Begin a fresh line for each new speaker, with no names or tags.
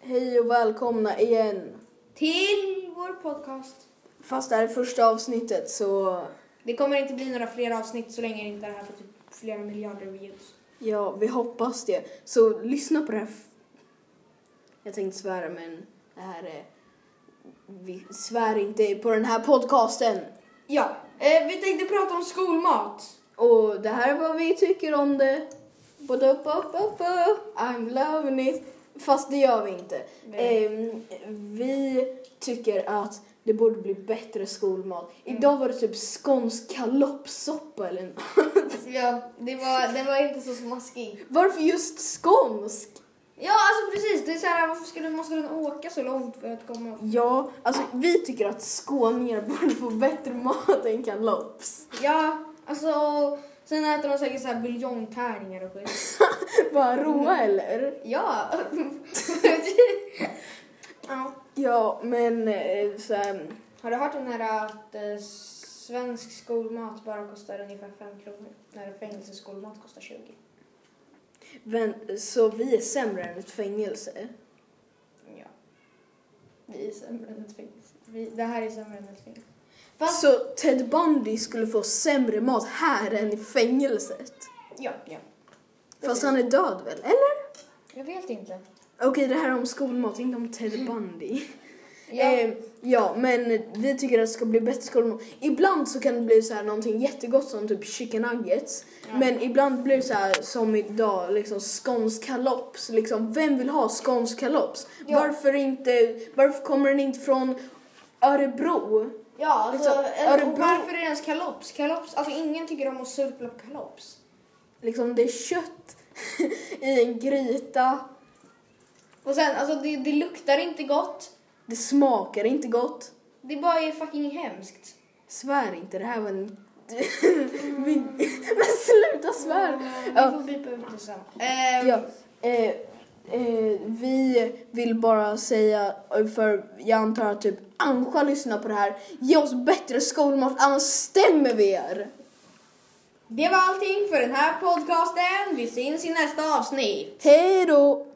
Hej och välkomna igen.
Till vår podcast.
Fast det här är första avsnittet så
Det kommer inte bli några fler avsnitt så länge inte det här får typ flera miljarder views.
ja, vi hoppas det. Så lyssna på det här. f- Jag tänkte svära men det här är... Vi svär inte på den här podcasten.
Ja, eh, vi tänkte prata om skolmat.
Och det här är vad vi tycker om det. Både upp, upp, upp, upp. I'm loving it. Fast det gör vi inte.
Nej.
Ehm, vi tycker att det borde bli bättre skolmat. Idag var det typ skånsk kaloppsoppa eller nå-
Ja, det var, den var inte så smaskig.
Varför just skånsk?
Ja, alltså precis. Det är så här, varför skulle, måste den åka så långt för att komma?
Ja, alltså vi tycker att skåningar borde få bättre mat än kalopps.
Ja, alltså och sen äter de säkert så här buljongtärningar och skit.
Bara roa eller?
Ja. ja.
Ja, men eh, så här,
Har du hört om det här att eh, svensk skolmat bara kostar ungefär 5 kronor? När fängelseskolmat kostar 20.
vän, så vi är sämre än ett fängelse.
Ja. Vi är sämre än ett fängelse. Vi, det här är sämre än ett fängelse. Fast,
Så Ted Bundy skulle få sämre mat här än i fängelset.
ja, ja.
Fast han är död väl, eller?
Jag vet inte.
Okej, det här är om skolmat, inte om Ted Bundy.
Ja,
Eh, ja, men vi tycker att det ska bli bättre skolmat. Ibland så kan det bli så här någonting jättegott som typ chicken nuggets.
Ja.
Men ibland blir det så här som idag, liksom skånsk kalops. Liksom, vem vill ha skånsk kalops?
Ja.
Varför, inte, varför kommer den inte från Örebro?
ja alltså,
liksom,
eller, och
Örebro-
varför är det ens kalops? Kalops, alltså ingen tycker om att surpla på kalops.
Liksom, det är kött i en gryta.
Och sen, alltså det, det luktar inte gott.
Det smakar inte gott.
Det bara är fucking hemskt.
Svär inte, det här var en... Vi- Men sluta svär! Ja.
Mm, Vi får bipa ut det sen. Eh,
Ja, eh, eh, vi vill bara säga, eh, för jag antar att typ Anja lyssnar på det här, ge oss bättre skolmat annars stämmer vi er!
Det var allting för den här podcasten. Vi syns i nästa avsnitt.
Hej då!